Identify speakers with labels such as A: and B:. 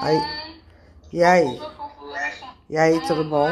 A: Aí, e aí?
B: Sou fofucha.
A: E aí, tudo bom?